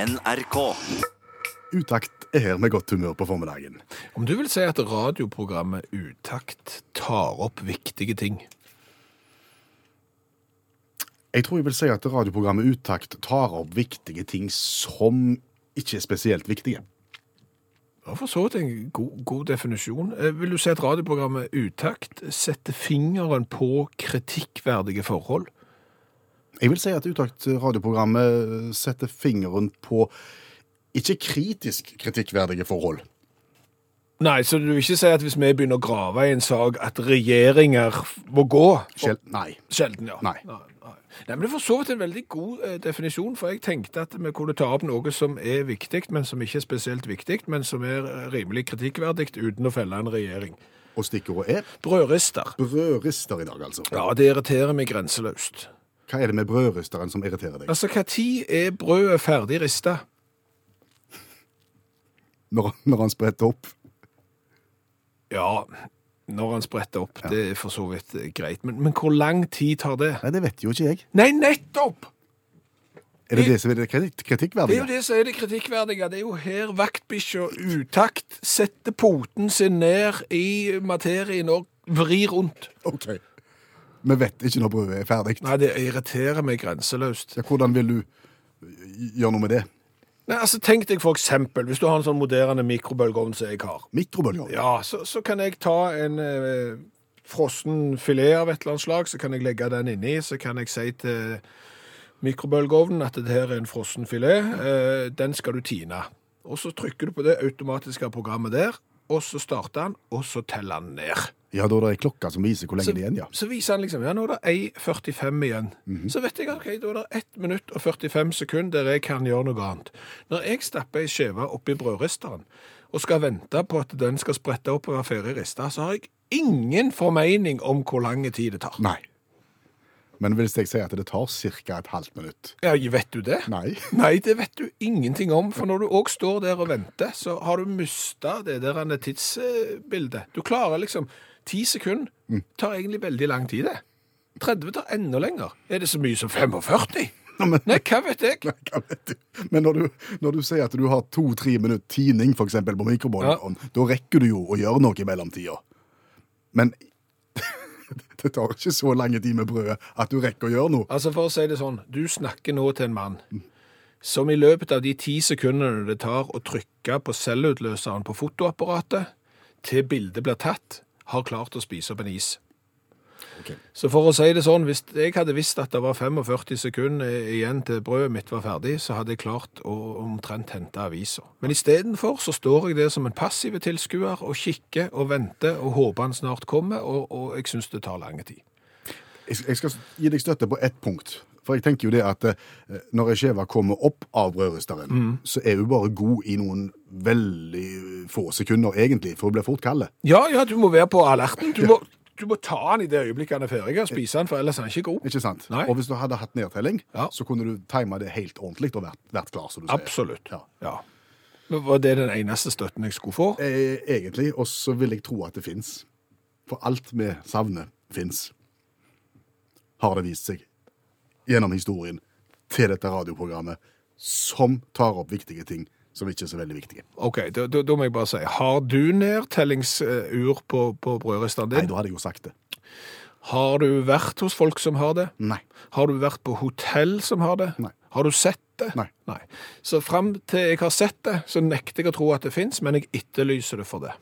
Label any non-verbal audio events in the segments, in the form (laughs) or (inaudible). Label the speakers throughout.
Speaker 1: NRK.
Speaker 2: Utakt er her med godt humør på formiddagen.
Speaker 3: Om du vil si at radioprogrammet Utakt tar opp viktige ting
Speaker 2: Jeg tror jeg vil si at radioprogrammet Utakt tar opp viktige ting som ikke er spesielt viktige.
Speaker 3: Det var for så vidt en god, god definisjon. Eh, Vil du si at radioprogrammet Utakt setter fingeren på kritikkverdige forhold?
Speaker 2: Jeg vil si at Utakt radioprogrammet setter fingeren på ikke kritisk kritikkverdige forhold.
Speaker 3: Nei, så du vil ikke si at hvis vi begynner å grave i en sak, at regjeringer må gå?
Speaker 2: Sjel nei.
Speaker 3: Sjelden, ja.
Speaker 2: Nei.
Speaker 3: Nei, nei. Nei, men Det er for så vidt en veldig god eh, definisjon, for jeg tenkte at vi kunne ta opp noe som er viktig, men som ikke er spesielt viktig, men som er eh, rimelig kritikkverdig uten å felle en regjering.
Speaker 2: Og stikkordet er
Speaker 3: Brødrister.
Speaker 2: brødrister i dag, altså.
Speaker 3: Ja, det irriterer meg grenseløst.
Speaker 2: Hva er det med brødristeren som irriterer deg?
Speaker 3: Altså, hva tid er brødet ferdig rista?
Speaker 2: Når, når han spretter opp?
Speaker 3: Ja, når han spretter opp, det er for så vidt eh, greit. Men, men hvor lang tid tar det?
Speaker 2: Nei, det vet jo ikke jeg.
Speaker 3: Nei, nettopp!
Speaker 2: Er det det som er det kritikk-
Speaker 3: Det er jo
Speaker 2: kritikkverdige?
Speaker 3: det som er det kritikkverdige. Det er jo her vaktbikkja utakt setter poten sin ned i materien og vrir rundt.
Speaker 2: OK. Vi vet ikke når brødet er ferdig.
Speaker 3: Nei, det irriterer meg grenseløst.
Speaker 2: Ja, hvordan vil du gjøre noe med det?
Speaker 3: Nei, altså, Tenk deg for eksempel, hvis du har en sånn moderne mikrobølgeovn som jeg har.
Speaker 2: Mikrobølger?
Speaker 3: Ja, så, så kan jeg ta en eh, frossen filet av et eller annet slag, så kan jeg legge den inni, så kan jeg si til mikrobølgeovnen at det her er en frossen filet, eh, den skal du tine. Og så trykker du på det automatiske programmet der, og så starter han, og så teller han ned.
Speaker 2: Ja, da er det ei klokke som viser hvor lenge
Speaker 3: Så,
Speaker 2: det er igjen, ja. Mhm.
Speaker 3: så viser han liksom, ja, nå er det 1,45 igjen. Så vet jeg, ok, da er det 1 minutt og 45 sekunder der jeg kan gjøre noe annet. Når jeg stapper ei skjeve oppi brødristeren, og skal vente på at den skal sprette opp og være ferdig rista, så har jeg ingen formening om hvor lang tid det tar.
Speaker 2: Nei. Men hvis jeg sier at det tar ca. et halvt minutt
Speaker 3: Ja, vet du det?
Speaker 2: Nei. (laughs)
Speaker 3: Nei, det vet du ingenting om, for når du òg står der og venter, så har du mista det der andre tidsbildet. Du klarer liksom Ti sekunder tar egentlig veldig lang tid, det. 30 tar enda lenger. Er det så mye som 45?
Speaker 2: men-
Speaker 3: Nei, hva vet jeg?
Speaker 2: Nei, hva vet du? Men når du, når du sier at du har to-tre minutter tining for eksempel, på mikrobølgeovnen, da rekker du jo å gjøre noe i mellomtida. Men (laughs) det tar ikke så lange tid med brødet at du rekker å gjøre noe.
Speaker 3: Altså, for å si det sånn, du snakker nå til en mann som i løpet av de ti sekundene det tar å trykke på selvutløseren på fotoapparatet, til bildet blir tatt, har klart å spise opp en is.
Speaker 2: Ok.
Speaker 3: Så for å si det sånn, hvis jeg hadde visst at det var 45 sekunder igjen til brødet mitt var ferdig, så hadde jeg klart å omtrent hente avisa. Men istedenfor så står jeg der som en passiv tilskuer og kikker og venter og håper han snart kommer, og, og jeg syns det tar lang tid.
Speaker 2: Jeg jeg skal gi deg støtte på ett punkt. For jeg tenker jo det at eh, når ei skive kommer opp av brødristeren,
Speaker 3: Mm.
Speaker 2: så er hun bare god i noen veldig få sekunder, egentlig, for hun blir fort kald.
Speaker 3: Ja, ja, du må være på alerten. Du, må, du må ta han i det øyeblikket han er ferdig og spise han, for ellers er han ikke god.
Speaker 2: Ikke sant?
Speaker 3: Nei.
Speaker 2: Og hvis du hadde hatt nedtelling,
Speaker 3: Ja.
Speaker 2: så kunne du time det helt ordentlig og vært, vært klar, som du
Speaker 3: Absolutt.
Speaker 2: sier. Ja.
Speaker 3: Ja. Men var det den eneste støtten jeg skulle få?
Speaker 2: Eh, Egentlig, og så vil jeg tro at det fins. For alt vi savner, fins. Har det vist seg gjennom historien til dette radioprogrammet, som tar opp viktige ting som ikke er så veldig viktige.
Speaker 3: OK, da, da, da må jeg bare si. Har du nedtellingsur på, på brødristeren
Speaker 2: Nei,
Speaker 3: din?
Speaker 2: da hadde jeg jo sagt det.
Speaker 3: Har du vært hos folk som har det?
Speaker 2: Nei.
Speaker 3: Har du vært på hotell som har det?
Speaker 2: Nei.
Speaker 3: Har du sett det?
Speaker 2: Nei.
Speaker 3: Så frem til jeg har sett det, så nekter jeg å tro at det finnes, men jeg etterlyser det for det.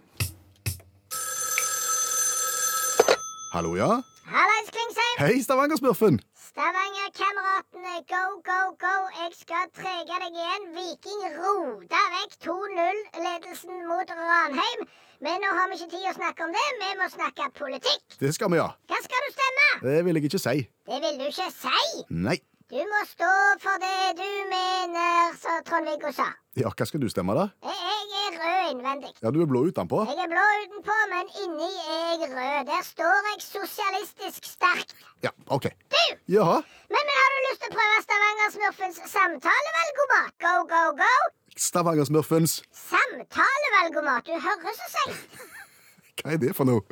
Speaker 2: Hallo, ja?
Speaker 4: Hallais, Klingsheim!
Speaker 2: Hei, Stavangersmurfen!
Speaker 4: Stavanger-kameratene, go, go, go! Jeg skal trege deg igjen. Viking rota vekk 2-0-ledelsen mot Ranheim. Men nå har vi ikke tid å snakke om det. Vi må snakke politikk.
Speaker 2: Det skal vi ha.
Speaker 4: Hva skal du stemme?
Speaker 2: Det vil jeg ikke si.
Speaker 4: Det vil du ikke si.
Speaker 2: Nei.
Speaker 4: Du må stå for det du mener, som Trond-Viggo sa.
Speaker 2: Ja, hva skal du stemme, da?
Speaker 4: Jeg er rød innvendig.
Speaker 2: Ja, du er blå utenpå.
Speaker 4: Jeg er blå utenpå, men inni er jeg rød. Der står jeg sosialistisk sterkt.
Speaker 2: Ja, OK.
Speaker 4: Du!
Speaker 2: Jaha.
Speaker 4: Men, men har du lyst til å prøve Stavanger-smurfens samtalevalgomat? Go, go, go!
Speaker 2: Stavangersmurfens.
Speaker 4: Samtalevalgomat, du hører så seint.
Speaker 2: Hva er det for noe?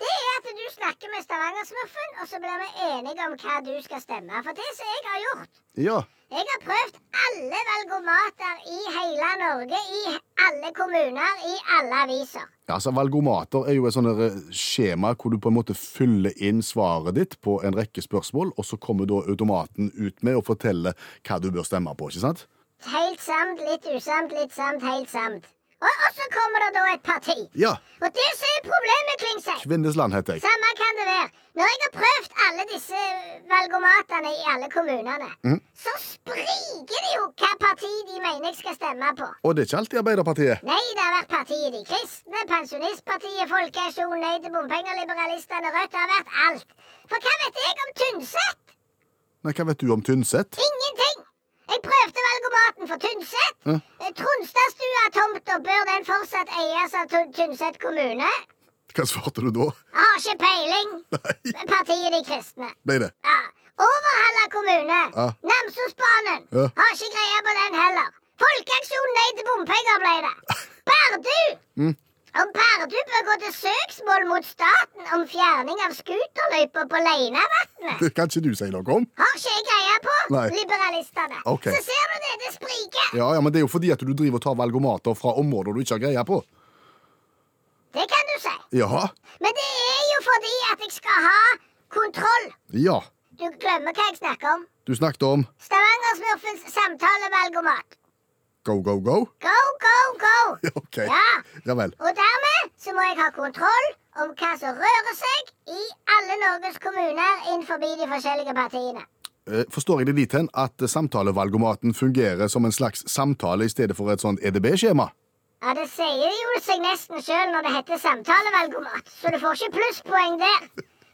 Speaker 4: Det er at du snakker vi Stavangersmurfen, og så blir vi enige om hva du skal stemme. For det som jeg har gjort
Speaker 2: Ja.
Speaker 4: Jeg har prøvd alle valgomater i hele Norge, i alle kommuner, i alle aviser.
Speaker 2: Altså, Valgomater er jo et sånt der, eh, skjema hvor du på en måte fyller inn svaret ditt på en rekke spørsmål, og så kommer da automaten ut med å fortelle hva du bør stemme på. ikke sant?
Speaker 4: Helt samt, litt usamt, litt samt, helt samt. Og, og så kommer det da et parti.
Speaker 2: Ja.
Speaker 4: Og det som er problemet, Klingsheim
Speaker 2: Kvinnesland heter jeg.
Speaker 4: Samme kan det være. Når jeg har prøvd alle disse valgomatene i alle kommunene, så spriker det jo hva parti de mener jeg skal stemme på.
Speaker 2: Og det er ikke alltid Arbeiderpartiet.
Speaker 4: Nei, det har vært partiet De kristne, Pensjonistpartiet, Folkeaksjonen, Nei til bompenger, Liberalistene, Rødt. Det har vært alt. For hva vet jeg om Tynset?
Speaker 2: Nei, Hva vet du om Tynset?
Speaker 4: Ingenting! Jeg prøvde valgomaten for Tynset.
Speaker 2: Ja.
Speaker 4: Eh, Tronstadstua-tomta, bør den fortsatt eies av Tyn- Tynset kommune?
Speaker 2: Hva svarte du da?
Speaker 4: Jeg har ikke peiling.
Speaker 2: Nei,
Speaker 4: Partiet De kristne.
Speaker 2: ble det.
Speaker 4: Ja. Overhalla kommune.
Speaker 2: Ja.
Speaker 4: Namsosbanen.
Speaker 2: Ja.
Speaker 4: Har ikke greie på den heller. Folkeaksjonen Nei til bompenger ble
Speaker 2: (laughs)
Speaker 4: det. Bardu!
Speaker 2: Mm.
Speaker 4: Om Bardu bør gå til søksmål mot staten om fjerning av scooterløypa på Leinavatnet.
Speaker 2: Det kan ikke du si noe om.
Speaker 4: Har ikke jeg greie på.
Speaker 2: Nei.
Speaker 4: Liberalistene.
Speaker 2: Ok.
Speaker 4: Så ser du det, det spriker.
Speaker 2: Ja, ja, men Det er jo fordi at du driver og tar valgomater fra områder du ikke har greie på.
Speaker 4: Det kan du si.
Speaker 2: Ja.
Speaker 4: Men det er jo fordi at jeg skal ha kontroll.
Speaker 2: Ja.
Speaker 4: Du glemmer hva jeg snakker om.
Speaker 2: Du snakket om
Speaker 4: Stavangersmurfens samtalevalgomat.
Speaker 2: go, go, (laughs) go.
Speaker 4: Go, go, go!
Speaker 2: (laughs) Ja, OK.
Speaker 4: Ja.
Speaker 2: Ja vel.
Speaker 4: Og dermed så må jeg ha kontroll om hva som rører seg i alle Norges kommuner innenfor de forskjellige partiene.
Speaker 2: Eh, Forstår jeg det dit hen at samtalevalgomaten fungerer som en slags samtale i stedet for et sånt E EDB-skjema?
Speaker 4: Ja, Det sier jo seg nesten sjøl når det heter samtalevalgomat, så du får ikke plusspoeng der.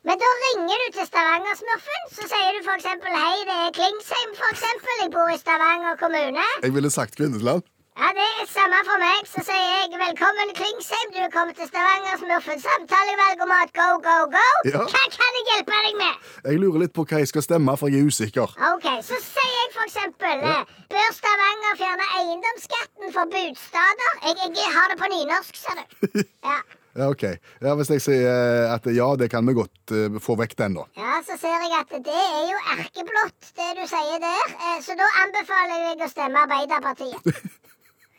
Speaker 4: Men da ringer du til Stavangersmurfen, så sier du f.eks.: Hei, det er Klingsheim, f.eks. Jeg bor i Stavanger kommune.
Speaker 2: Jeg ville sagt Kvinnesland.
Speaker 4: Ja, det er samme for meg. Så sier jeg velkommen, Klingsheim. Du er kommet til Stavanger Smurfen. Samtalevalgomat, go, go, go.
Speaker 2: Ja.
Speaker 4: Hva kan jeg hjelpe deg med?
Speaker 2: Jeg lurer litt på hva jeg skal stemme, for jeg er usikker.
Speaker 4: Ok, Så sier jeg for eksempel eh, Bør Stavanger fjerne eiendomsskatten for budstader? Jeg, jeg har det på nynorsk, ser du. Ja.
Speaker 2: Ja, ok. Ja, Hvis jeg sier eh, at ja, det kan vi godt eh, få vekk den, da.
Speaker 4: ja, så ser jeg at det er jo erkeblått, det du sier der. eh, Så da anbefaler jeg deg å stemme Arbeiderpartiet.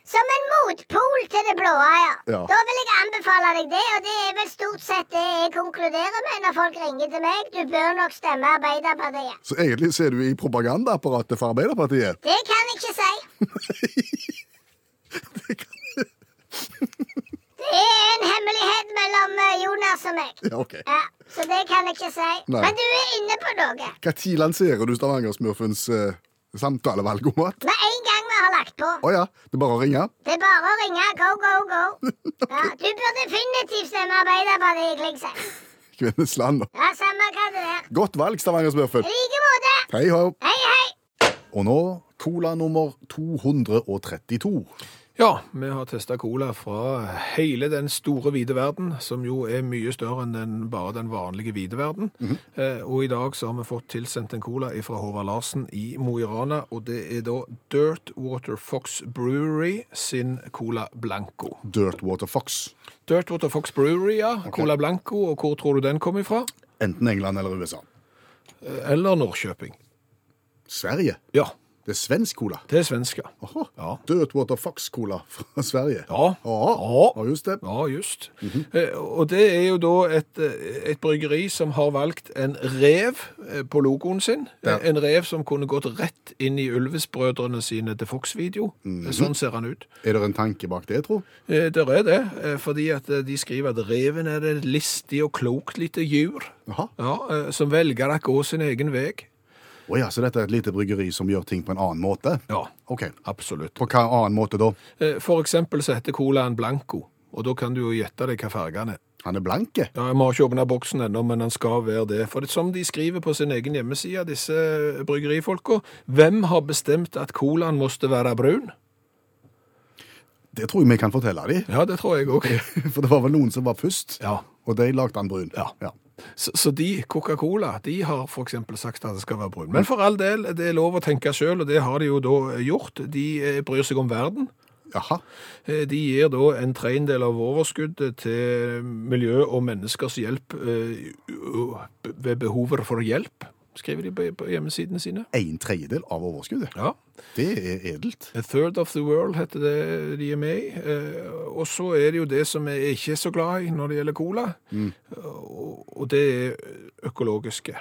Speaker 4: Som en motpol til det blå, ja.
Speaker 2: Ja.
Speaker 4: Da vil jeg anbefale deg det, og det er vel stort sett det jeg konkluderer med når folk ringer til meg. Du bør nok stemme Arbeiderpartiet.
Speaker 2: Så egentlig så er du i propagandaapparatet for Arbeiderpartiet. (laughs)
Speaker 4: Det kan jeg ikke si. Det er en hemmelighet mellom eh, Jonas og meg.
Speaker 2: Ja, ok.
Speaker 4: Ja, Så det kan jeg ikke si.
Speaker 2: Nei.
Speaker 4: Men du er inne på noe.
Speaker 2: Når lanserer du Stavangersmurfens eh, samtalevalgomat?
Speaker 4: Med en gang vi har lagt på.
Speaker 2: Å ja, det er bare å ringe?
Speaker 4: Det er bare å ringe. Go, go, go. Ja, du bør definitivt stemme Arbeiderpartiet, Klingsheim.
Speaker 2: Kvinnesland. da.
Speaker 4: Ja, samme hva det er.
Speaker 2: Godt valg, Stavangersmurfen.
Speaker 4: I like måte.
Speaker 2: Hei ho.
Speaker 4: Hei, hei.
Speaker 2: Og nå cola nummer 232.
Speaker 3: Ja, vi har testa cola fra hele den store hvite verden, som jo er mye større enn den, bare den vanlige hvite verden. eh, og i dag så har vi fått tilsendt en cola fra Håvard Larsen i Mo i Rana, og det er da Dirt Water Fox Brewery sin Cola Blanco.
Speaker 2: Dirtwater Fox.
Speaker 3: Dirt Water Fox Brewery, ja. Cola Blanco, og hvor tror du den kom ifra?
Speaker 2: Enten England eller USA.
Speaker 3: Eh, Eller Norrköping.
Speaker 2: Sverige.
Speaker 3: Ja,
Speaker 2: Det er svensk cola.
Speaker 3: det er svenska.
Speaker 2: Aha.
Speaker 3: Ja.
Speaker 2: Dirtwater Fox-cola fra Sverige.
Speaker 3: Ja.
Speaker 2: Ja, ja, just det.
Speaker 3: Ja, just. Eh, Og det er jo da et, eh, et bryggeri som har valgt en rev eh, på logoen sin. Eh,
Speaker 2: Ja.
Speaker 3: En rev som kunne gått rett inn i Ulvesbrødrene sine til Fox-video. Eh, Sånn ser han ut.
Speaker 2: Er det en tanke bak det, tro?
Speaker 3: Eh, Der er det, eh, fordi at eh, de skriver at reven er et listig og klokt lite djur,
Speaker 2: Jaha.
Speaker 3: ja, eh, som velger å gå sin egen veg.
Speaker 2: Å ja, så dette er et lite bryggeri som gjør ting på en annen måte?
Speaker 3: Ja,
Speaker 2: OK.
Speaker 3: absolutt.
Speaker 2: På hva annen måte da?
Speaker 3: Eh, For eksempel så heter colaen Blanco, og da kan du jo gjette deg hva fargene er.
Speaker 2: Han er blanke.
Speaker 3: Ja, Vi har ikke åpna boksen ennå, men den skal være det. For det, som de skriver på sin egen hjemmeside, disse bryggerifolka, hvem har bestemt at colaen måtte være brun?
Speaker 2: Det tror jeg vi kan fortelle dem. (laughs)
Speaker 3: Ja, det tror jeg òg.
Speaker 2: For det var vel noen som var først,
Speaker 3: Ja.
Speaker 2: og de lagde han brun.
Speaker 3: Ja. (laughs) Så, så de, Coca-Cola, de har f.eks. sagt at det skal være brun. Men for all del, det er lov å tenke sjøl, og det har de jo da gjort. De eh, bryr eh, seg om verden.
Speaker 2: Jaha.
Speaker 3: Eh, De gir da en tredjedel av overskuddet til miljø og menneskers hjelp eh, u- ved behovet for hjelp, skriver de på på hjemmesidene sine.
Speaker 2: En tredjedel av overskuddet.
Speaker 3: Ja.
Speaker 2: Det er edelt.
Speaker 3: A Third of the World heter det de er med i. Eh, Og så er det jo det som jeg ikke er så glad i når det gjelder cola, og og det er (laughs) økologiske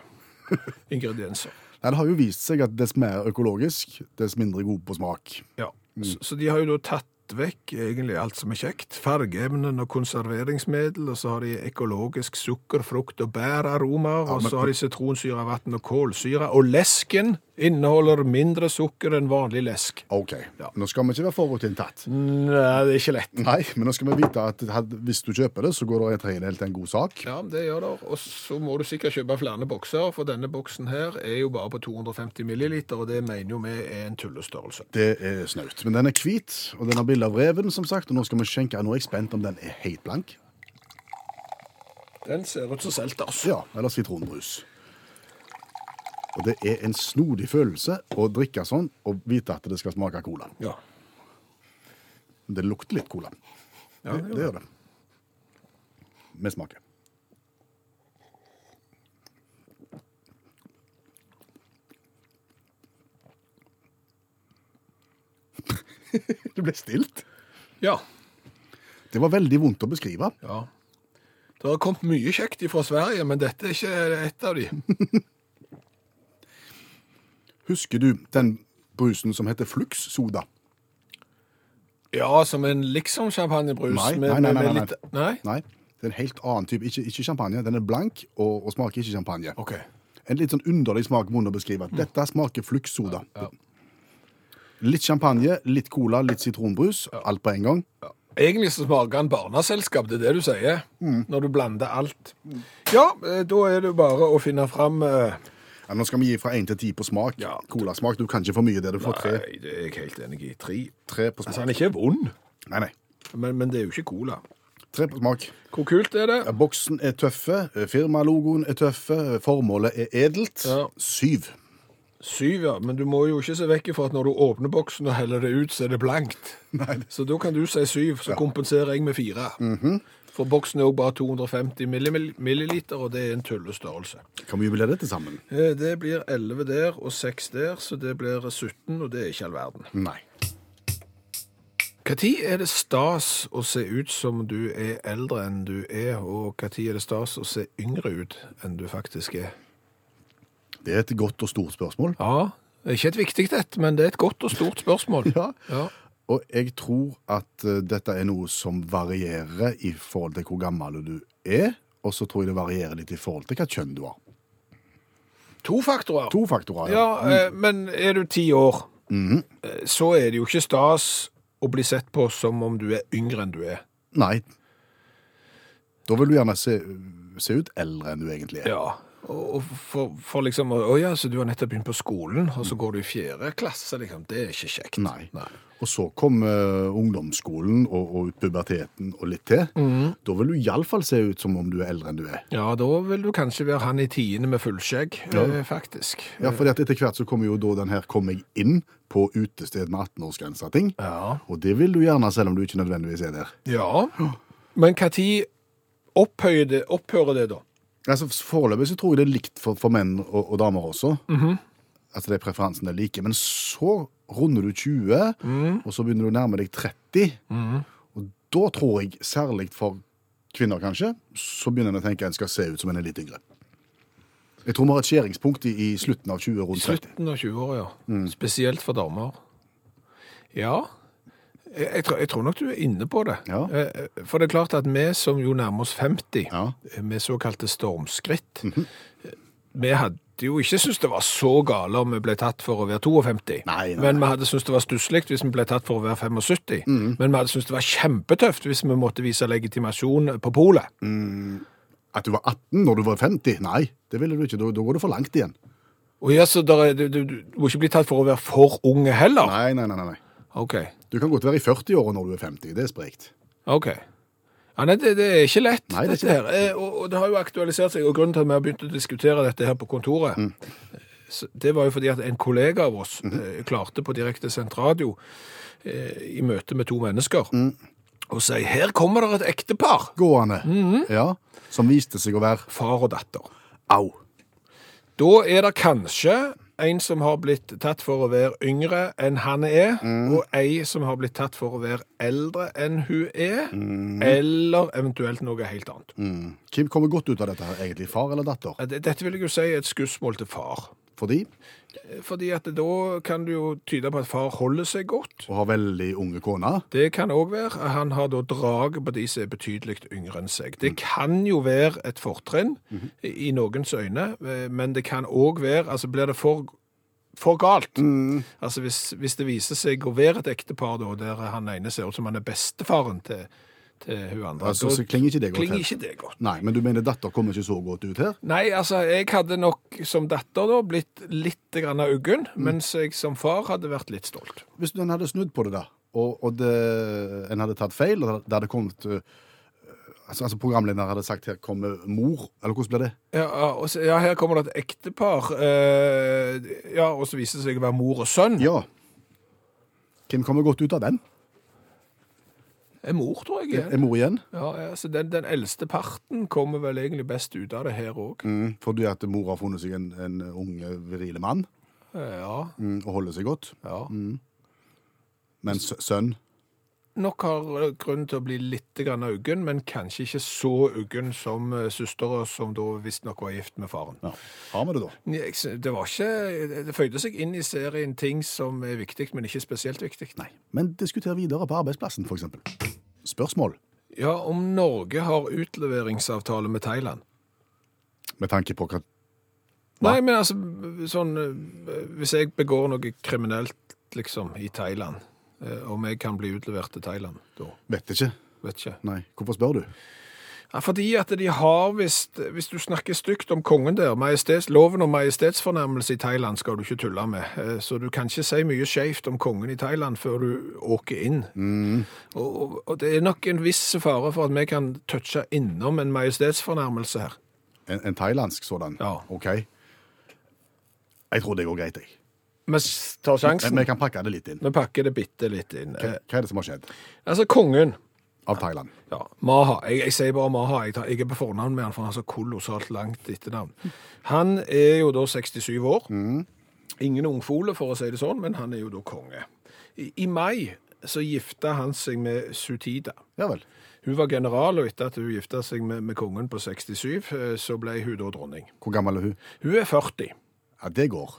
Speaker 3: ingredienser.
Speaker 2: Nei, det har jo vist seg at dess mer økologisk, dess mindre god på smak.
Speaker 3: Ja. Så, så de har jo da tatt vekk egentlig alt som er kjekt. Fargeevnen og konserveringsmiddel, og så har de økologisk sukker, frukt og bæraromaer,
Speaker 2: Ja,
Speaker 3: og
Speaker 2: men-
Speaker 3: så har de sitronsyre, vann og kålsyre. Og lesken inneholder mindre sukker enn vanlig lesk.
Speaker 2: OK,
Speaker 3: Ja.
Speaker 2: nå skal vi ikke være forutinntatt.
Speaker 3: Nei, det er ikke lett.
Speaker 2: Nei, men nå skal vi vite at had- hvis du kjøper det, så går det en tredjedel til en god sak.
Speaker 3: Ja, det gjør det. Og så må du sikkert kjøpe flere bokser, for denne boksen her er jo bare på 250 milliliter, og det mener jo vi er en tullestørrelse.
Speaker 2: Det er snaut. Men den er hvit, og den har bilde av reven, som sagt. Og nå skal vi skjenke. Nå er jeg spent om den er helt blank.
Speaker 3: Den ser ut som altså. selters.
Speaker 2: Ja, eller sitronbrus. Og det er en snodig følelse å drikke sånn og vite at det skal smake cola.
Speaker 3: Ja.
Speaker 2: Det lukter litt cola.
Speaker 3: Ja,
Speaker 2: det, det gjør det. Med
Speaker 3: (laughs)
Speaker 2: smaken. det ble stilt.
Speaker 3: Ja.
Speaker 2: Det var veldig vondt å beskrive.
Speaker 3: Ja. Det har kommet mye kjekt fra Sverige, men dette er ikke et
Speaker 2: (laughs)
Speaker 3: av de.
Speaker 2: Husker du den brusen som heter Flux Soda?
Speaker 3: Ja, som en liksom-champagnebrus.
Speaker 2: Nei,
Speaker 3: med-
Speaker 2: nei, nei,
Speaker 3: med-
Speaker 2: nei,
Speaker 3: med litt- nei.
Speaker 2: Nei, det er en helt annen type. Ikke, ikke champagne. Den er blank og, og smaker ikke champagne.
Speaker 3: Ok.
Speaker 2: En litt sånn underlig smak må man beskrive. Dette smaker fluksoda. Litt champagne, litt cola, litt sitronbrus. Alt på en gang.
Speaker 3: Egentlig så smaker den barneselskap, det er det du sier.
Speaker 2: Mm.
Speaker 3: Når du blander alt. Ja, eh, da er det jo bare å finne fram eh,
Speaker 2: Ja, nå skal vi gi fra én til ti på smak.
Speaker 3: Ja.
Speaker 2: Colasmak. Du kan ikke for mye der. Du får tre,
Speaker 3: Nei, det er jeg helt enig i. Tre.
Speaker 2: tre på
Speaker 3: Altså,
Speaker 2: smak.
Speaker 3: den er ikke vond,
Speaker 2: Nei, nei.
Speaker 3: men, men det er jo ikke cola.
Speaker 2: Tre på smak.
Speaker 3: Hvor kult er
Speaker 2: Ja,
Speaker 3: det?
Speaker 2: Boksen er tøffe. Firmalogoen er tøffe. Formålet er edelt.
Speaker 3: Ja.
Speaker 2: Syv.
Speaker 3: Syv, ja. Men du må jo ikke se vekk ifra at når du åpner boksen og heller det ut, så er det (laughs) blankt.
Speaker 2: Nei,
Speaker 3: Så da kan du si syv, så kompenserer jeg med fire. For boksen er jo bare 250 millimil- milliliter, og det er en tullestørrelse.
Speaker 2: Hvor mye blir det til sammen?
Speaker 3: Eh, Det blir 11 der og 6 der, så det blir 17, og det er ikke all verden.
Speaker 2: Nei.
Speaker 3: Når er det stas å se ut som du er eldre enn du er, og når er det stas å se yngre ut enn du faktisk er?
Speaker 2: Det er et godt og stort spørsmål.
Speaker 3: Ja, det er ikke et viktig et, men det er et godt og stort spørsmål.
Speaker 2: (laughs) Ja.
Speaker 3: Ja.
Speaker 2: Og jeg tror at eh, dette er noe som varierer i forhold til hvor gammel du er, og så tror jeg det varierer litt i forhold til hva kjønn du har.
Speaker 3: To faktorer.
Speaker 2: To faktorer.
Speaker 3: Ja, eh, men er du ti år,
Speaker 2: Mhm.
Speaker 3: eh, så er det jo ikke stas å bli sett på som om du er yngre enn du er.
Speaker 2: Nei. Da vil du gjerne se, se ut eldre enn du egentlig er.
Speaker 3: Ja. Og og for, for liksom Å ja, så du har nettopp begynt på skolen, og så går du i fjerde klasse, liksom. Det er ikke kjekt.
Speaker 2: Nei. Og så kom eh, ungdomsskolen og, og puberteten og litt til.
Speaker 3: Mhm.
Speaker 2: Da vil du iallfall se ut som om du er eldre enn du er.
Speaker 3: Ja, da vil du kanskje være han i tiende med fullskjegg, eh, faktisk.
Speaker 2: Ja, for etter hvert så kommer jo da den her 'kom jeg inn' på utested med 18-årsgrensa-ting.
Speaker 3: Ja.
Speaker 2: Og det vil du gjerne, selv om du ikke nødvendigvis er der.
Speaker 3: ja. Men når opphøyer det, opphører det, da?
Speaker 2: Altså, Foreløpig så tror jeg det er likt for, for menn og, og damer også. Altså, de preferansene er like. Men så runder du 20, og så begynner du å nærme deg 30. Og da tror jeg, særlig for kvinner kanskje, så begynner en å tenke at en skal se ut som en er litt yngre. Jeg tror vi har et skjæringspunkt i, i slutten av 20, rundt 30.
Speaker 3: Slutten av 20-åra, ja.
Speaker 2: Mm.
Speaker 3: Spesielt for damer. Ja. Jeg, jeg, tror, jeg tror nok du er inne på det.
Speaker 2: Ja.
Speaker 3: Eh, eh, For det er klart at vi som jo nærmer oss 50,
Speaker 2: Ja.
Speaker 3: eh, med såkalte stormskritt
Speaker 2: Mhm.
Speaker 3: eh, Vi hadde jo ikke syntes det var så gale om vi ble tatt for å være 52.
Speaker 2: Nei, Mhm. nei,
Speaker 3: Men vi hadde syntes det var stusslig hvis vi ble tatt for å være 75. Men vi hadde syntes det var kjempetøft hvis vi måtte vise legitimasjon på polet.
Speaker 2: Mm. At du var 18 når du var 50? Nei, det ville du ikke. Da, da går det for langt igjen.
Speaker 3: Og ja, så der, er- du, du, du må ikke bli tatt for å være for unge heller.
Speaker 2: Nei, nei, nei. nei. nei.
Speaker 3: Ok.
Speaker 2: Du kan godt være i 40-åra når du er 50. Det er sprekt.
Speaker 3: Ok. Ja, nei, det, det er ikke lett,
Speaker 2: Nei, det er
Speaker 3: dette
Speaker 2: ikke
Speaker 3: her. Eh, Og, og det har jo aktualisert seg, og grunnen til at vi har begynt å diskutere dette her på kontoret,
Speaker 2: Mm. Mhm.
Speaker 3: eh, så det var jo fordi at en kollega av oss eh, klarte på direktesendt radio eh, i møte med to mennesker
Speaker 2: Mm.
Speaker 3: og si 'her kommer det et ektepar'.
Speaker 2: Gående. Ja. Som viste seg å være
Speaker 3: Far og datter.
Speaker 2: Au.
Speaker 3: Da er det kanskje en som har blitt tatt for å være yngre enn han er,
Speaker 2: Mm.
Speaker 3: og ei som har blitt tatt for å være eldre enn hun er, eller eventuelt noe helt annet.
Speaker 2: Mm. Hvem kommer godt ut av dette her, egentlig? Far eller datter?
Speaker 3: Ja, det- Dette vil jeg jo si er et skussmål til far. Eh,
Speaker 2: Fordi
Speaker 3: Fordi at da kan det jo tyde på at far holder seg godt.
Speaker 2: å ha veldig unge kone
Speaker 3: Det kan òg være. Han har da draget på de som er betydelig yngre enn seg.
Speaker 2: Mm.
Speaker 3: Det kan jo være et fortrinn
Speaker 2: Mhm.
Speaker 3: i i noens øyne, eh, men det kan òg være Altså blir det for, for galt.
Speaker 2: Mm.
Speaker 3: Altså hvis, hvis det viser seg å være et ektepar da, der han ene ser ut som han er bestefaren til, til hun andre,
Speaker 2: altså,
Speaker 3: da
Speaker 2: så klinger ikke det godt.
Speaker 3: klinger
Speaker 2: helt.
Speaker 3: ikke det godt.
Speaker 2: Nei, men du mener datter kommer ikke så godt ut her?
Speaker 3: Nei, altså, jeg hadde nok som datter da blitt litt grann uggen,
Speaker 2: Mm.
Speaker 3: mens jeg som far hadde vært litt stolt.
Speaker 2: Hvis en hadde snudd på det, da, og, og det, en hadde tatt feil, og det hadde kommet eh, altså, altså Programlederen hadde sagt 'her kommer mor', eller hvordan blir det?
Speaker 3: Ja, og så, ja her kommer det et ektepar, eh, ja, og så viser det seg å være mor og sønn.
Speaker 2: Ja. Hvem kommer godt ut av den?
Speaker 3: Er Eh, mor, tror jeg.
Speaker 2: Er
Speaker 3: igjen.
Speaker 2: er mor igjen?
Speaker 3: Ja, ja, så den, den eldste parten kommer vel egentlig best ut av det her òg.
Speaker 2: Mm. Fordi at mor har funnet seg en, en unge, virile mann
Speaker 3: Eh, Ja,
Speaker 2: mm, og holder seg godt.
Speaker 3: ja.
Speaker 2: Men sø- sønn
Speaker 3: Nok har grunn til å bli litt grann uggen, men kanskje ikke så uggen som eh, søstera, som da visstnok var gift med faren.
Speaker 2: ja. har vi det, da.
Speaker 3: Nei, jeg sy- Det var ikke Det føyde seg inn i serien ting som er viktig, men ikke spesielt viktig.
Speaker 2: Nei. Men diskuter videre på arbeidsplassen, f.eks. Spørsmål
Speaker 3: Ja, om Norge har utleveringsavtale med Thailand?
Speaker 2: med tanke på hva Hva?
Speaker 3: Nei, men altså sånn eh, Hvis jeg begår noe kriminelt, liksom, i Thailand, eh, om jeg kan bli utlevert til Thailand da?
Speaker 2: Vet ikke.
Speaker 3: Vet ikke.
Speaker 2: Nei. Hvorfor spør du?
Speaker 3: Ja, fordi at de har visst Hvis du snakker stygt om kongen der, majestets, loven om majestetsfornærmelse i Thailand skal du ikke tulle med. Eh, Så du kan ikke si mye skjevt om kongen i Thailand før du åker inn.
Speaker 2: Mm.
Speaker 3: Og, og- og det er nok en viss fare for at vi kan touche innom en majestetsfornærmelse her.
Speaker 2: En, en thailandsk sådan?
Speaker 3: Ja.
Speaker 2: OK. Jeg tror det går greit, jeg.
Speaker 3: Vi tar
Speaker 2: Men
Speaker 3: sjansen.
Speaker 2: vi kan pakke det litt inn.
Speaker 3: Vi pakker det bitte litt inn.
Speaker 2: Hva
Speaker 3: Eh,
Speaker 2: hva er det som har skjedd
Speaker 3: Altså, kongen
Speaker 2: av Thailand?
Speaker 3: Ja, Maha. Jeg, jeg sier bare Maha. Jeg, tar, jeg er på fornavn med han, for han har så kolossalt langt etternavn. Han er jo da 67 år. Ingen ungfole, for å si det sånn, men han er jo da konge. I, i mai så gifta han seg med Sutida.
Speaker 2: Ja vel.
Speaker 3: Hun var general, og etter at hun gifta seg med, med kongen på 67, eh, så ble hun da dronning.
Speaker 2: Hvor gammel er hun?
Speaker 3: Hun er 40.
Speaker 2: Ja, det går.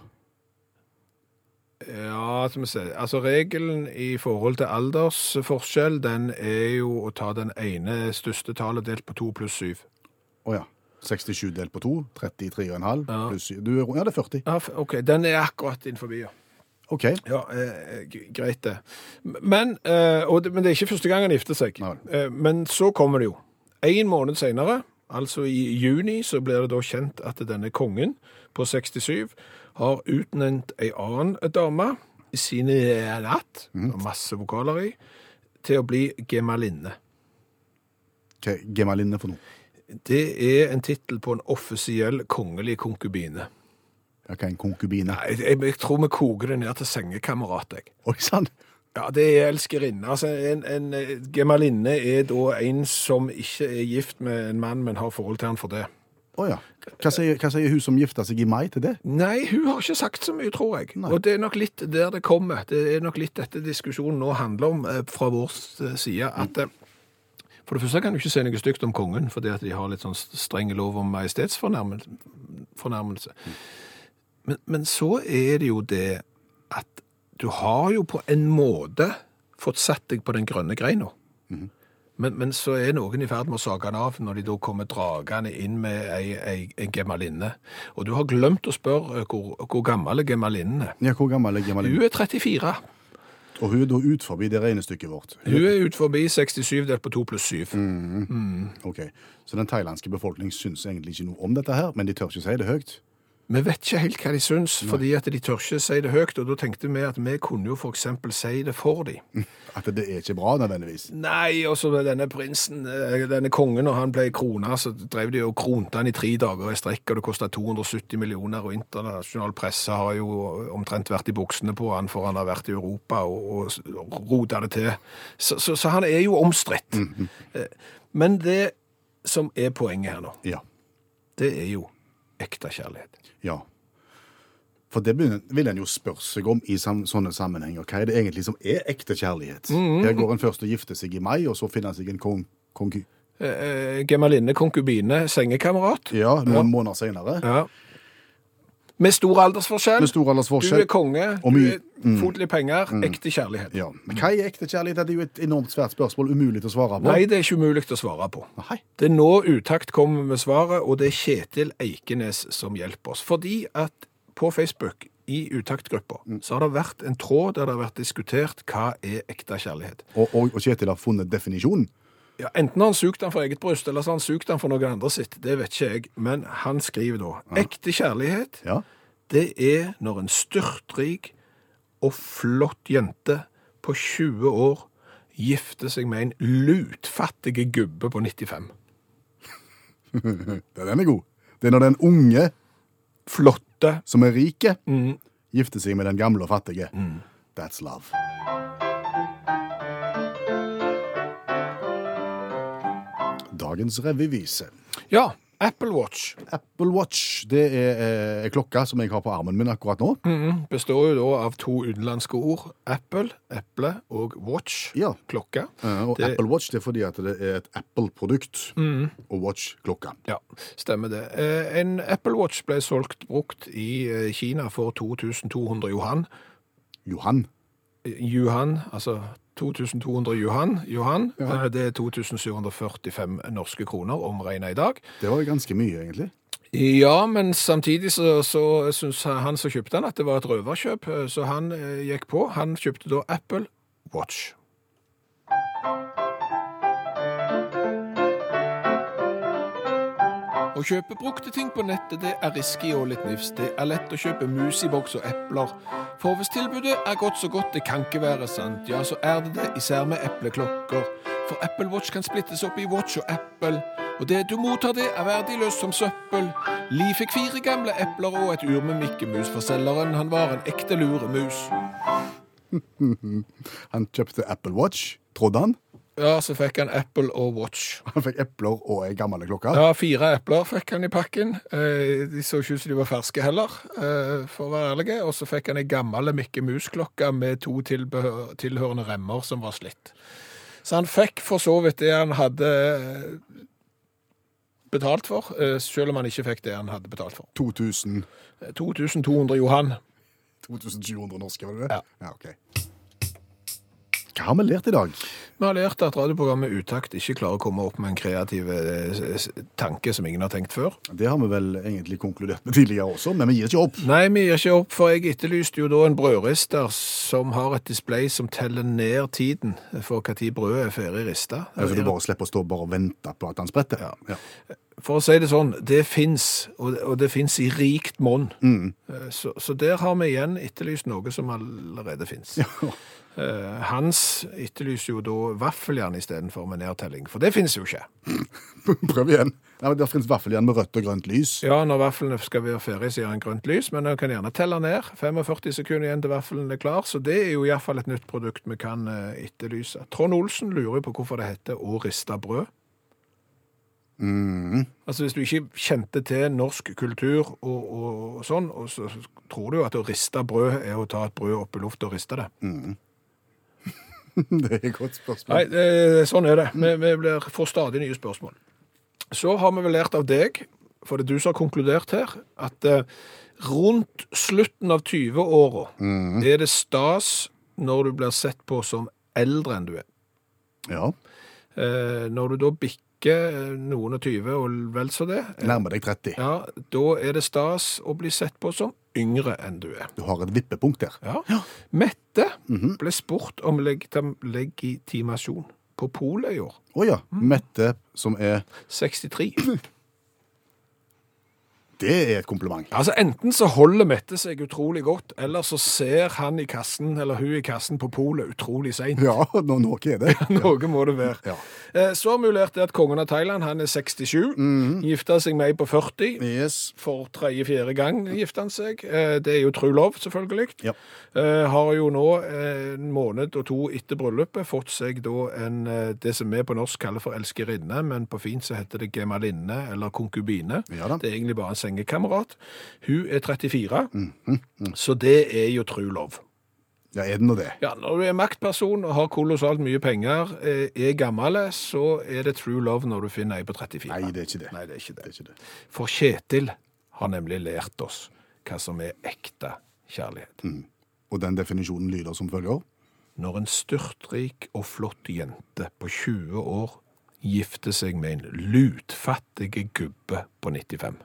Speaker 3: Ja, som jeg sier, altså regelen i forhold til aldersforskjell, den er jo å ta den ene største tallet delt på to pluss syv.
Speaker 2: Å ja. 67 delt på 2, 33,5
Speaker 3: Ja.
Speaker 2: pluss du er, Ja, det er 40.
Speaker 3: Ja, f- ok, den er akkurat innenfor, ja.
Speaker 2: OK.
Speaker 3: Ja, eh, g- greit det. Men, eh, og det. Men det er ikke første gang han gifter seg.
Speaker 2: Nei.
Speaker 3: Eh, men så kommer det jo. En måned senere, altså i juni, så blir det da kjent at denne kongen på 67 har utnevnt ei annen dame i sine natt, masse vokaler i, til å bli gemalinne.
Speaker 2: Hva er gemalinne for noe?
Speaker 3: Det er en tittel på en offisiell kongelig konkubine.
Speaker 2: Ja, hva er en konkubine?
Speaker 3: Jeg, jeg, jeg tror vi koker det ned til sengekamerat, jeg.
Speaker 2: Oi sann!
Speaker 3: Ja, det er elskerinne. Altså, en, en eh, gemalinne er da en som ikke er gift med en mann, men har forhold til han for det.
Speaker 2: Å ja. Hva sier, hva sier hun som gifta seg i mai til det?
Speaker 3: Nei, hun har ikke sagt så mye, tror jeg.
Speaker 2: Nei.
Speaker 3: Og det er nok litt der det kommer. Det er nok litt dette diskusjonen nå handler om eh, fra vår s- side. At eh, for det første kan du ikke si noe stygt om kongen, fordi at de har litt sånn strenge lov om majestetsfornærmelse. Men, men så er det jo det at du har jo på en måte fått satt deg på den grønne greina. Men, men så er noen i ferd med å sage den av når de da kommer dragende inn med ei, ei, ei gemalinne. Og du har glemt å spørre eh, hvor, hvor gammel er gemalinnen er.
Speaker 2: Ja, Hvor gammel er gemalinne?
Speaker 3: Hun er 34.
Speaker 2: Og hun er da ut forbi det regnestykket vårt.
Speaker 3: Hun er ut forbi 67 delt på 2 pluss 7.
Speaker 2: Ok, Så den thailandske befolkningen syns egentlig ikke noe om dette her, men de tør ikke si det høyt.
Speaker 3: Vi vet ikke helt hva de syns, fordi at de tør ikke si det høyt. Og da tenkte vi at vi kunne jo f.eks. si det for dem.
Speaker 2: At det er ikke bra nødvendigvis.
Speaker 3: Nei, og så denne prinsen, eh, denne kongen, når han ble krona, så drev de og kronte han i tre dager i strekk, og det kosta 270 millioner, og internasjonal presse har jo omtrent vært i buksene på han, for han har vært i Europa og, og rota det til. Så, så, så han er jo omstridt. Eh, Men det som er poenget her nå,
Speaker 2: Ja.
Speaker 3: det er jo ekte kjærlighet.
Speaker 2: ja. For det begynner- vil en jo spørre seg om i sam sånne sammenhenger. Hva er det egentlig som er ekte kjærlighet? Her går en først og gifter seg i mai, og så finner en seg en kon konku...
Speaker 3: Eh, eh, Gemaline, konkubine, sengekamerat.
Speaker 2: Ja, noen måneder senere.
Speaker 3: Ja. Med stor aldersforskjell.
Speaker 2: Med stor
Speaker 3: Du
Speaker 2: aldersforskjell.
Speaker 3: er konge,
Speaker 2: Og
Speaker 3: du
Speaker 2: mye- mm.
Speaker 3: er fotlig penger, ekte kjærlighet.
Speaker 2: Ja. Men hva er ekte kjærlighet? Det er jo et enormt svært spørsmål, umulig å svare på.
Speaker 3: Nei, det er ikke umulig å svare på.
Speaker 2: Nei.
Speaker 3: Det er nå utakt kommer med svaret, og det er Kjetil Eikenes som hjelper oss. Fordi at på Facebook, i utaktgruppa,
Speaker 2: Mm.
Speaker 3: så har det vært en tråd der det har vært diskutert hva er ekte kjærlighet.
Speaker 2: Og, og, og Kjetil har funnet definisjonen.
Speaker 3: Ja, enten har han sugt den for eget bryst, eller så har han sugt den for noen andre sitt. Det vet ikke jeg, men han skriver da. Ekte kjærlighet,
Speaker 2: Ja.
Speaker 3: det er når en styrtrik og flott jente på 20 år gifter seg med en lutfattig gubbe på 95.
Speaker 2: Ja, Den er god. Det er når den unge
Speaker 3: Flotte.
Speaker 2: som er rike,
Speaker 3: Mm.
Speaker 2: gifter seg med den gamle og fattige. That's love. Dagens revyvise.
Speaker 3: Ja, Apple Watch
Speaker 2: Apple Watch det er eh, en klokke som jeg har på armen min akkurat nå.
Speaker 3: Mm. består jo da av to utenlandske ord. Apple, eple og watch,
Speaker 2: Ja.
Speaker 3: klokke.
Speaker 2: Eh, og
Speaker 3: Det- Mm.
Speaker 2: Apple Watch det er fordi at det er et Apple-produkt og Watch-klokka.
Speaker 3: Ja, stemmer det. Eh, En Apple Watch ble solgt brukt i eh, Kina for 2200 johan.
Speaker 2: Johan.
Speaker 3: Eh, Johan, altså 2200 johan, johan eh, det er 2745 norske kroner omregnet i dag.
Speaker 2: Det var jo ganske mye, egentlig.
Speaker 3: Ja, men samtidig så, så syntes han som kjøpte den at det var et røverkjøp, eh, så han eh, gikk på. Han kjøpte da Apple Watch. Å kjøpe brukte ting på nettet det er risky og litt nifst. Det er lett å kjøpe mus i boks og epler. For hvis tilbudet er godt så godt det kan ikke være sant, ja så er det det, især med epleklokker. For Apple Watch kan splittes opp i Watch og Apple, og det du mottar det er verdiløst som søppel. Li fikk fire gamle epler og et ur med Mikkemus, for selgeren han var en ekte luremus.
Speaker 2: Han kjøpte Apple Watch, trodde han.
Speaker 3: Ja, så fikk han Apple og Watch.
Speaker 2: Han fikk epler og ei gammel klokke.
Speaker 3: Ja, fire epler fikk han i pakken. Eh, De så ikke ut som de var ferske heller, eh, for å være ærlige. Og så fikk han ei gammel Mikke Mus-klokke med to tilbehør, tilhørende remmer som var slitt. Så han fikk for så vidt det han hadde eh, betalt for, eh, selv om han ikke fikk det han hadde betalt for.
Speaker 2: 2000
Speaker 3: Eh, 2200 Johan.
Speaker 2: 2700 norske, var det det?
Speaker 3: Ja.
Speaker 2: ok. Hva har vi lært i dag?
Speaker 3: Vi har lært at radioprogrammet Utakt ikke klarer å komme opp med en kreativ eh, s- s- tanke som ingen har tenkt før.
Speaker 2: Det har vi vel egentlig konkludert med tidligere også, men vi gir ikke opp.
Speaker 3: Nei, vi gir ikke opp, for jeg etterlyste jo da en brødrister som har et display som teller ned tiden for hva tid brødet er ferdig rista.
Speaker 2: Så Altså, du bare slipper å stå bare og vente på at han spretter. Ja.
Speaker 3: For å si det sånn, det fins, og det- og det fins i rikt monn.
Speaker 2: Mm.
Speaker 3: Eh, Så, så der har vi igjen etterlyst noe som allerede fins. Eh, Hans etterlyser jo da vaffeljern istedenfor med nedtelling, for det fins jo ikke.
Speaker 2: (laughs) Prøv igjen. Nei, men Det finnes vaffeljern med rødt og grønt lys.
Speaker 3: Ja, når vaflene skal være ferdig, så gir han grønt lys, men han kan gjerne telle ned. 45 sekunder igjen til vaffelen er klar, så det er jo iallfall et nytt produkt vi kan eh, etterlyse. Trond Olsen lurer jo på hvorfor det heter å riste brød.
Speaker 2: Mhm.
Speaker 3: Altså Hvis du ikke kjente til norsk kultur og, og, og sånn, og så tror du jo at å riste brød er å ta et brød opp i luft og riste det.
Speaker 2: (laughs) Det er et godt
Speaker 3: Nei,
Speaker 2: spørsmål.
Speaker 3: eh, sånn er det. Vi, vi blir, får stadig nye spørsmål. Så har vi vel lært av deg, for det er du som har konkludert her, at eh, rundt slutten av 20-åra er det stas når du blir sett på som eldre enn du er.
Speaker 2: Ja,
Speaker 3: Eh, når du da bikker eh, noen og 20 og vel så det, eh,
Speaker 2: Nærmer deg 30.
Speaker 3: ja, da er det stas å bli sett på som yngre enn du er.
Speaker 2: Du har et vippepunkt der.
Speaker 3: Ja. Mette ble spurt om legitim legitimasjon på polet i år.
Speaker 2: Mm. Å ja. Mette, som er
Speaker 3: 63.
Speaker 2: Det er et kompliment.
Speaker 3: Altså Enten så holder Mette seg utrolig godt, eller så ser han i kassen, eller hun i kassen på polet utrolig seint. (laughs)
Speaker 2: Ja, nå, noe er det.
Speaker 3: Noe må det være.
Speaker 2: (laughs) Ja.
Speaker 3: Eh, Så mulerte at kongen av Thailand han er 67,
Speaker 2: Mhm.
Speaker 3: gifta seg med ei på 40.
Speaker 2: Yes.
Speaker 3: For tredje-fjerde gang gifta han seg. Eh, Det er jo tru lov, selvfølgelig.
Speaker 2: Ja.
Speaker 3: Eh, Har jo nå, eh, en måned og to etter bryllupet, fått seg da en eh, det som vi på norsk kaller for elskerinne, men på fint så heter det gemalinne eller konkubine.
Speaker 2: Ja da.
Speaker 3: Det er egentlig bare en sengekamerat. Hun er 34, så det er jo tru lov.
Speaker 2: Mhm. ja, er det nå det?
Speaker 3: Ja, når du er maktperson og har kolossalt mye penger, eh, er gammel, så er det true love når du finner ei på 34.
Speaker 2: Nei, det er ikke det.
Speaker 3: Nei, det er ikke
Speaker 2: Det er
Speaker 3: det.
Speaker 2: ikke det.
Speaker 3: For Kjetil har nemlig lært oss hva som er ekte kjærlighet.
Speaker 2: Og den definisjonen lyder som følger.
Speaker 3: Når en styrtrik og flott jente på 20 år gifter seg med en lutfattig gubbe på 95.